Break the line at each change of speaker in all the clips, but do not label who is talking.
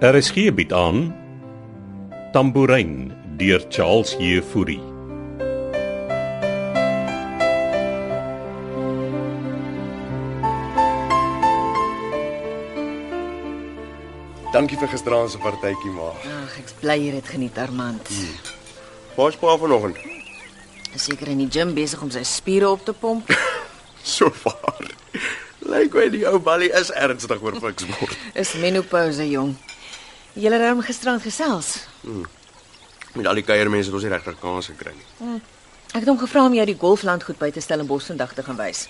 RSG bied Er aan Tambourin deur Charles Jefouri.
Dankie vir gisteraand se partytjie maar.
Ag, ek's bly jy het geniet, Armand.
Waar's pa vanoggend?
Is seker in die gim besig om sy spiere op te pomp.
So vaar. Lyk my die ou balie is ernstig oor fiks word.
Is menopouse jong. Julle het hom gisterand gesels.
Met al die kuiermense het ons nie regtig kans gekry nie.
Ek het hom gevra om jou die golfland goed by te stel in Bosvandag te gaan wys.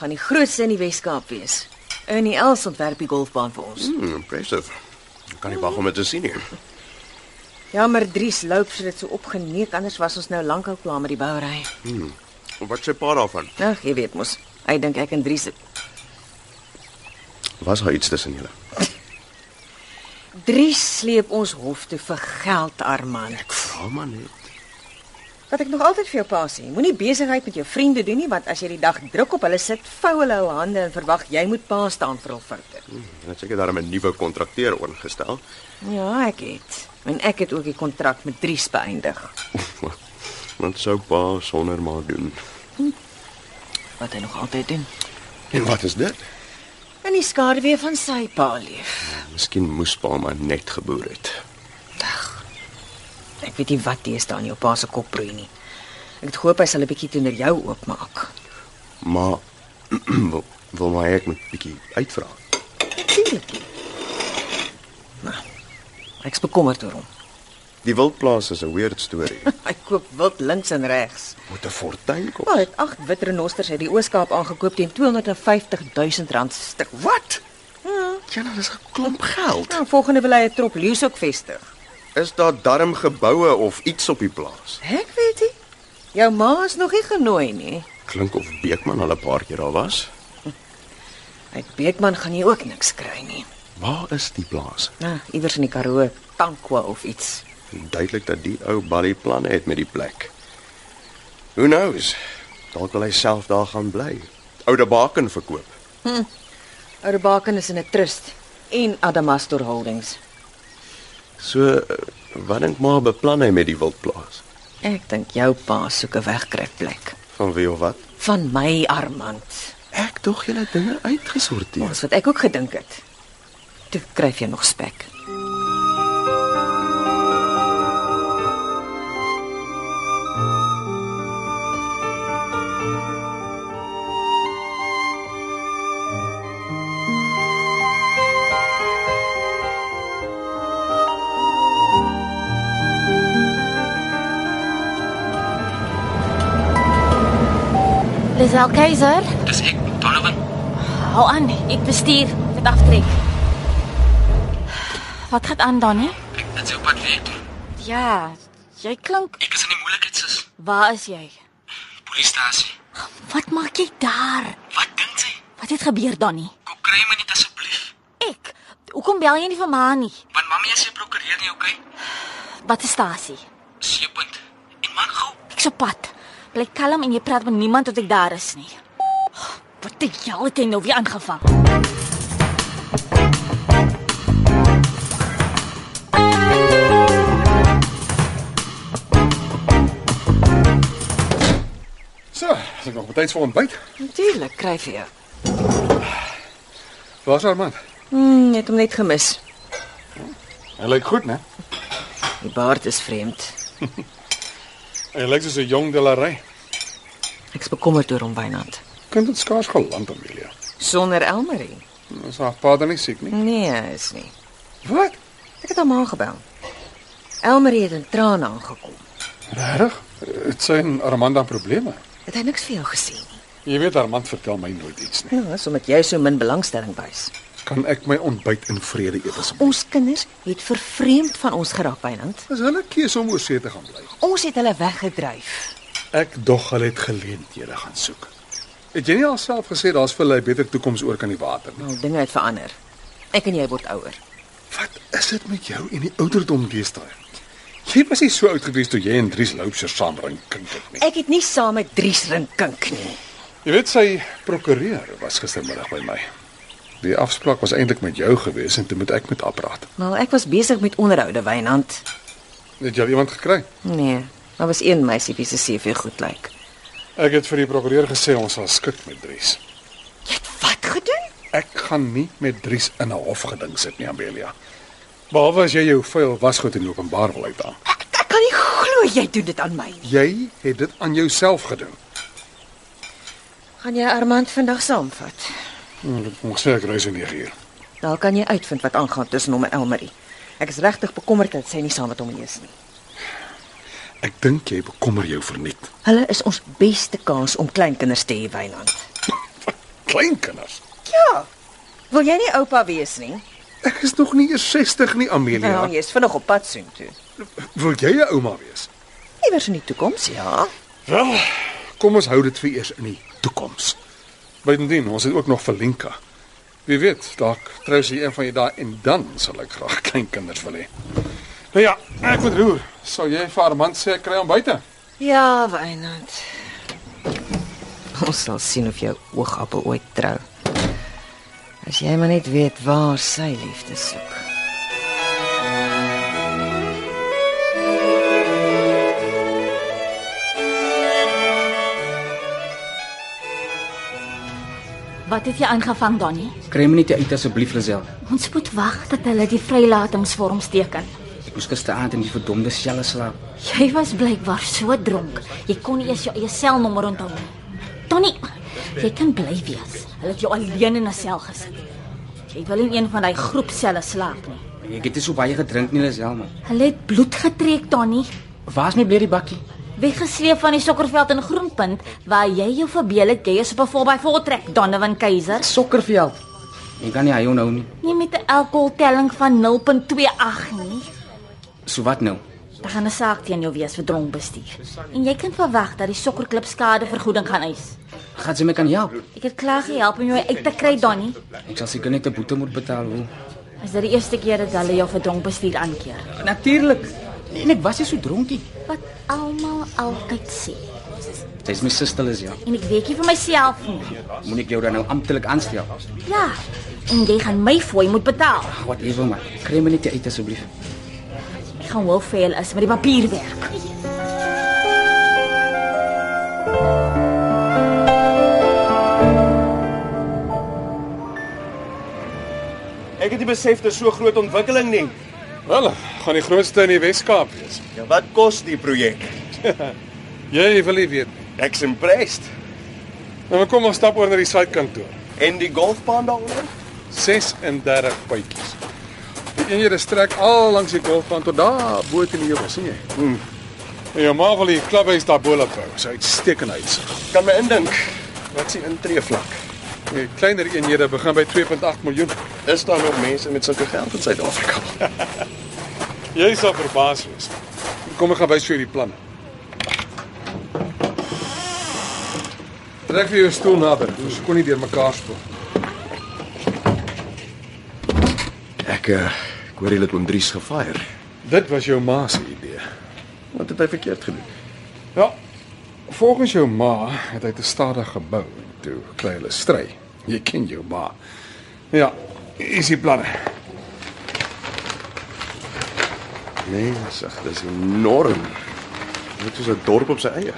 Gaan die grootste in die Wes-Kaap wees. Ernie Els ontwerp die golfbaan vir ons.
Hmm, impressive. Ek kan nie wag om dit te sien nie.
Jammer Dries Loups het dit so opgeneek anders was ons nou lankal klaar met die bouery.
Wat sê pa daarvan?
Ag, jy weet mos. Hy dink ek en Dries
Was daar iets tussen julle?
Dries sleep ons hof toe vir geld, Armand.
Vra Ja, maar net.
Wat ek nog altyd vir jou pa sê, moenie besigheid met jou vriende doen nie, want as jy die dag druk op hulle sit, vou hulle hul hande en verwag jy moet pa staan vir hul foute.
Hulle het seker daarom 'n nuwe kontrakteur oorgestel.
Ja, ek het. En ek het ook die kontrak met Dries beëindig.
Want sou pa sonder maar doen.
Wat hy nog altyd doen.
En wat is dit?
In die skaduwee van sy pa lief.
Miskien moes pa maar net geboer het.
Ek weet nie wat tees daar in jou pa se kop broei nie. Ek het hoop hy sal 'n bietjie teenoor jou oopmaak.
Maar wil, wil maar ek moet bietjie uitvra.
Natuurlik. nie. Maar ek's bekommerd oor hom.
Die wildplaas is 'n weird storie.
Hy koop wild links en regs.
Moet 'n fortuin kom.
Wel, het agt wit renosters uit die Oos-Kaap aangekoop teen 250 000 rand se stuk. Hmm,
Wat? Ja, nou, dis 'n klomp geld.
Nou, volgende wil hy 'n trop leeu's ook vestig.
Is daar darm geboue of iets op die plaas?
Ek weet nie. Jou ma is nog nie genooi nie.
Klink of Beekman al 'n paar keer daar was.
Uit Beekman gaan jy ook niks kry nie.
Waar is die plaas?
Nou, iewers in die Karoo, Tankwa of iets.
Duidelik dat die ou Barry planne het met die plek. Who knows? Dalk wil hy self daar gaan bly. Oude baken verkoop.
Oudebaken is in 'n trust en Adamastor Holdings.
So eh, wat dink maar beplan hy met die wildplaas?
Ek dink jou pa soek 'n wegkruipplek.
Van wie of wat?
Van my Armand.
Ek tog julle dinge uitgesorteer.
Ons wat ek ook gedink het. Toe kry jy nog spek.
Lisel Keiser,
Dis ek, Donovan.
hou aan. Ek bestuur met aftrek. Wat gaan aan dan hè?
Ek dit sou pad weet.
Ja, jy klink.
Ek is in die moeilikheid sis.
Waar is jy?
Polisiestasie.
Wat maak jy daar?
Wat dink jy?
Wat het gebeur dan nie?
Kom kry my net asseblief.
Ek. Hoekom bel jy nie vir my nie?
Want mami is se prokureur nie, okay?
Wat is stasie?
Seepunt. En maak gou.
Ek se pad. Bly kalm en jy praat met niemand tot ek daar is nie. Wat die hel het jy nou weer aangevang?
So, as ek nog betyds vir ontbyt.
Natuurlik kry jy jou.
Waar's haar man?
Hmm, jy het hom net gemis.
Hy lyk goed, né?
Die baard is vreemd.
Hy lyk soos 'n jong Delary.
Ek's bekommerd oor hom Wynand.
Kind het skaars geland, Amelia.
Sonder Elmarie?
Is haar vader nie siek nie?
Nee, hy is nie.
Wat?
Ek het hom aangebel. Elmarie het in trane aangekom.
Regtig? Dit sien Armand dan probleme.
Het hy niks vir jou gesê nie?
Jy weet Armand vertel my nooit iets nie.
Ja, sommer jy so min belangstelling wys.
Kan ek my ontbyt in vrede eet asseblief?
Ons kinders het vervreemd van ons geraak Wynand.
Dis hulle keuse om oor see te gaan bly.
Ons het hulle weggedryf.
Ek dog hulle het geleenthede gaan soek. Het jy nie alself gesê daar's vir hulle 'n beter toekoms oor kan die water nie?
Nou dinge het verander. Ek en jy word ouer.
Wat is dit met jou en die ouderdom deesdae? Jy was nie so oud gewees toe jy en Dries Loupser saam ring kind het nie.
Ek het nie saam met Dries rinkink nie.
Jy weet sy prokureur was gistermiddag by my. Die afspraak was eintlik met jou gewees en toe moet ek met apparaat.
Maar ek was besig met onderhoude Wynand.
Het jy al iemand gekry?
Nee, daar was een meisie wie se CV goed lyk.
Ek het vir die prokureur gesê ons sal skik met Dries.
Jy het wat gedoen?
Ek gaan nie met Dries in 'n hofgeding sit nie, Amelia. Behalwe as jy jou vuil wasgoed in die openbaar wil uithaal.
Ek, ek kan nie glo jy doen dit aan my nie.
Jy het dit aan jouself gedoen.
Gaan jy Armand vandag saamvat?
Ons sê Hmm, ek reis in 9 uur.
Daar kan jy uitvind wat aangaan tussen hom en Elmarie. Ek is regtig bekommerd dat sy nie saam met hom is nie.
Ek dink jy bekommer jou verniet.
Hulle is ons beste kans om kleinkinders te hê, Wynand.
Kleinkinders.
Ja. Wil jy nie oupa wees nie?
Ek is nog nie eers 60 nie, Amelia.
Nou, jy's vinnig op pad soontoe.
Wil jy 'n ouma wees?
Iewers in die toekoms, ja.
Wel, kom ons hou dit vir eers in die toekoms. Bydien, ons het ook nog vir Lenka. Wie weet, dalk trou sy een van die dae en dan sal ek graag kleinkinders wil hê. Nou ja, ek moet roer. Sou jy vir Armand sê ek kry hom buite?
Ja, Wynand. Ons sal sien of jou oogappel ooit trou. As jy maar net weet waar sy liefde soek.
Wat het jy aangevang, Donnie?
Kry my net uit asseblief, Lisel.
Ons moet wag dat hulle die vrylatingsvorm teken.
Ek moes gisteraand in die verdomde selle slaap.
Jy was blykbaar so dronk, jy kon nie eens jou eie selnommer onthou nie. Donnie, jy kan bly wees. Hulle het jou alleen in 'n sel gesit. Jy wil in een van daai groep selle slaap nie.
Ek het nie so baie gedrink nie, Lisel man.
Hulle het bloed getrek, Donnie.
Waar's my blerrie bakkie?
Weggesleep van die sokkerveld in Groenpunt waar jy jou verbeel het jy is op 'n voorbyvoortrek Donovan Keiser.
Sokkerveld. Ek kan nie hy nou nie.
Nie met 'n alkoholtelling van 0.28 nie.
So wat nou?
Daar gaan 'n saak teen jou wees vir dronk bestuur. En jy kan verwag dat die sokkerklub skadevergoeding gaan eis.
Gaan sy my kan help?
Ek het klaar gehelp om jou uit te kry, Donnie.
Ek sal seker net 'n boete moet betaal hoe.
Is dit die eerste keer dat hulle jou vir dronk bestuur aankeer?
Natuurlik. Nee, En ek was nie so dronkie.
Wat almal altyd sê.
Sy's my suster, Lisel.
En ek weet nie vir myself nie.
Moet ek jou dan nou amptelik aanstel?
Ja. En jy gaan my fooi moet betaal.
Whatever man. Kry my net uit asseblief.
Ek gaan wel veel is met die papierwerk.
Ek het nie besef dit is so groot ontwikkeling nie.
Wel, gaan die grootste in die Wes-Kaap wees.
Ja, wat kos die projek?
Jy wil nie weet nie.
Ek's impressed.
Nou kom ons stap oor na die suidkant toe.
En die golfbaan daaronder?
36 pypies. Die eenhede strek al langs die golfbaan tot daar bo teen die heuwel, sien jy?
Hmm.
Mm. En jou ma wil die klubhuis daar bo laat bou. Dis 'n uitstekende uitsig.
Kan my indink. Wat s'ie intreevlak?
Die kleiner eenhede begin by 2.8 miljoen.
Is daar nog mense met sulke geld in Suid-Afrika?
Jy sal verbaas wees. Kom ek gaan wys vir jou die planne. Trek vir jou stoel nader. Ons kon nie deur mekaar spoel.
Ek eh, ek hoor hulle het oom Dries gefire.
Dit was jou ma se idee.
Wat het hy verkeerd gedoen?
Ja. Volgens jou ma het hy te stadig gebou en toe kry hulle stry. Jy ken jou ma. Ja, hier is die planne.
Nee, sag, dis enorm. Dit is 'n dorp op sy eie.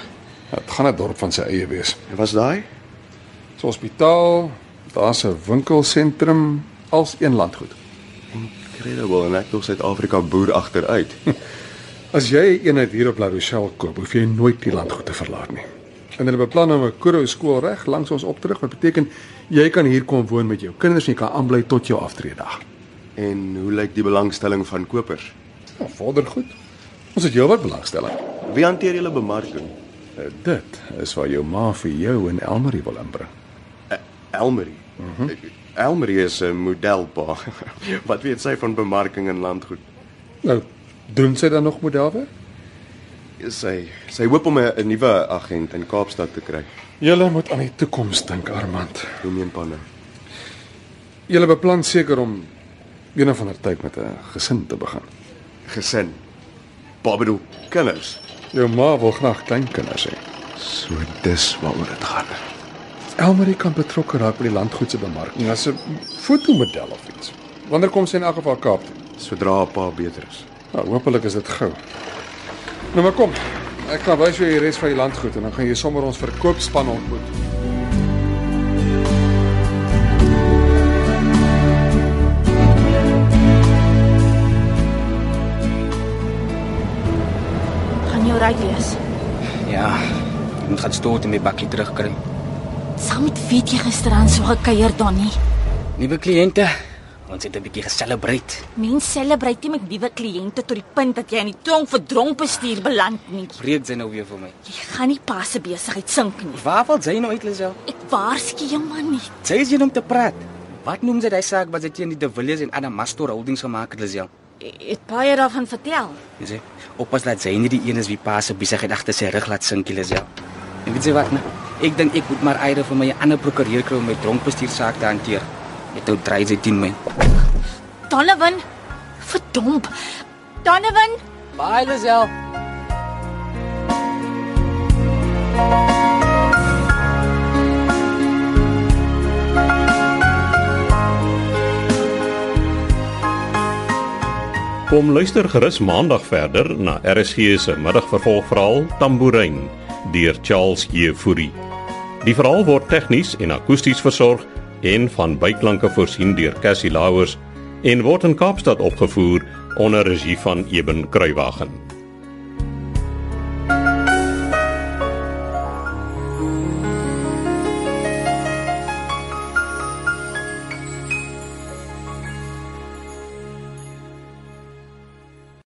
Dit gaan 'n dorp van sy eie wees.
En was daai?
Dis 'n hospitaal, daar's 'n winkelsentrum, als een landgoed.
Incredible en ek dog Suid-Afrika boer agteruit.
As jy 'n eenheid hier op La Rochelle koop, hoef jy nooit die landgoed te verlaat nie. En hulle beplan om 'n Kuro skool reg langs ons op te rig, wat beteken jy kan hier kom woon met jou kinders en jy kan aanbly tot jou aftreedag.
en hoe lyk die belangstelling van kopers?
Nou, vorder goed. Ons het heelwat belangstelling.
Wie hanteer julle bemarking?
Uh, Dit is waar jou ma vir jou en Elmarie wil inbring.
Elmarie. Mm -hmm. Elmarie E, is 'n modelpa. Wat weet sy van bemarking in landgoed?
Nou, doen sy dan nog modelwerk?
Sy sy hoop om 'n 'n nuwe agent in Kaapstad te kry.
Julle moet aan die toekoms dink, Armand.
Hoe meen panne?
Julle beplan seker om een of ander tyd met 'n gesin te begin.
Gesin. Babedoe kinders.
Jou ma wil graag kleinkinders hê.
So dis waaroor dit gaan.
Elmarie kan betrokke raak by die landgoed se bemarking as 'n fotomodel of iets. Wanneer kom sy in elk geval Kaap toe?
Sodra haar pa beter is.
Nou, hopelik is dit gou. Nou maar kom. Ek gaan wys jou die res van die landgoed en dan gaan jy sommer ons verkoopspan ontmoet.
Gaan jou reg wees.
Ja, ek moet gaan stoot en my bakkie terugkry.
Saam met weet jy gisteraan so gekuier dan nie.
Nuwe kliënte. Ons het 'n bietjie geselebreit.
Mense celebrate nie met nuwe kliënte tot die punt dat jy in die tronk vir dronk bestuur beland nie.
Breek sy nou weer vir my.
Jy gaan nie pas se besigheid sink nie.
Waar val sy nou uit, Lisel?
Ek waarsku jou man nie.
Sy is hier om te praat. Wat noem sy daai saak wat sy teen die De Villiers en Adam Mastor Holdings gemaak het, Lisel?
Ek het baie daarvan vertel.
Jy sê, oppas dat sy nie die een is wie pa se besigheid agter sy rug laat sink, Lisel. En weet jy wat, ne? Ek dink ek moet maar eiere vir my 'n ander prokureur kry om my dronkbestuursaak te hanteer. Dit nou dryf sy teen my.
Donovan, verdomp. Donovan,
Bye, Lisel.
Kom luister gerus maandag verder na RSG se middagvervolgverhaal Tambourine deur Charles Jefouri. Die verhaal word tegnies en akoesties versorg en van byklanke voorsien deur Cassie Lauers en word in Kaapstad opgevoer onder regie van Eben Kruiwagen.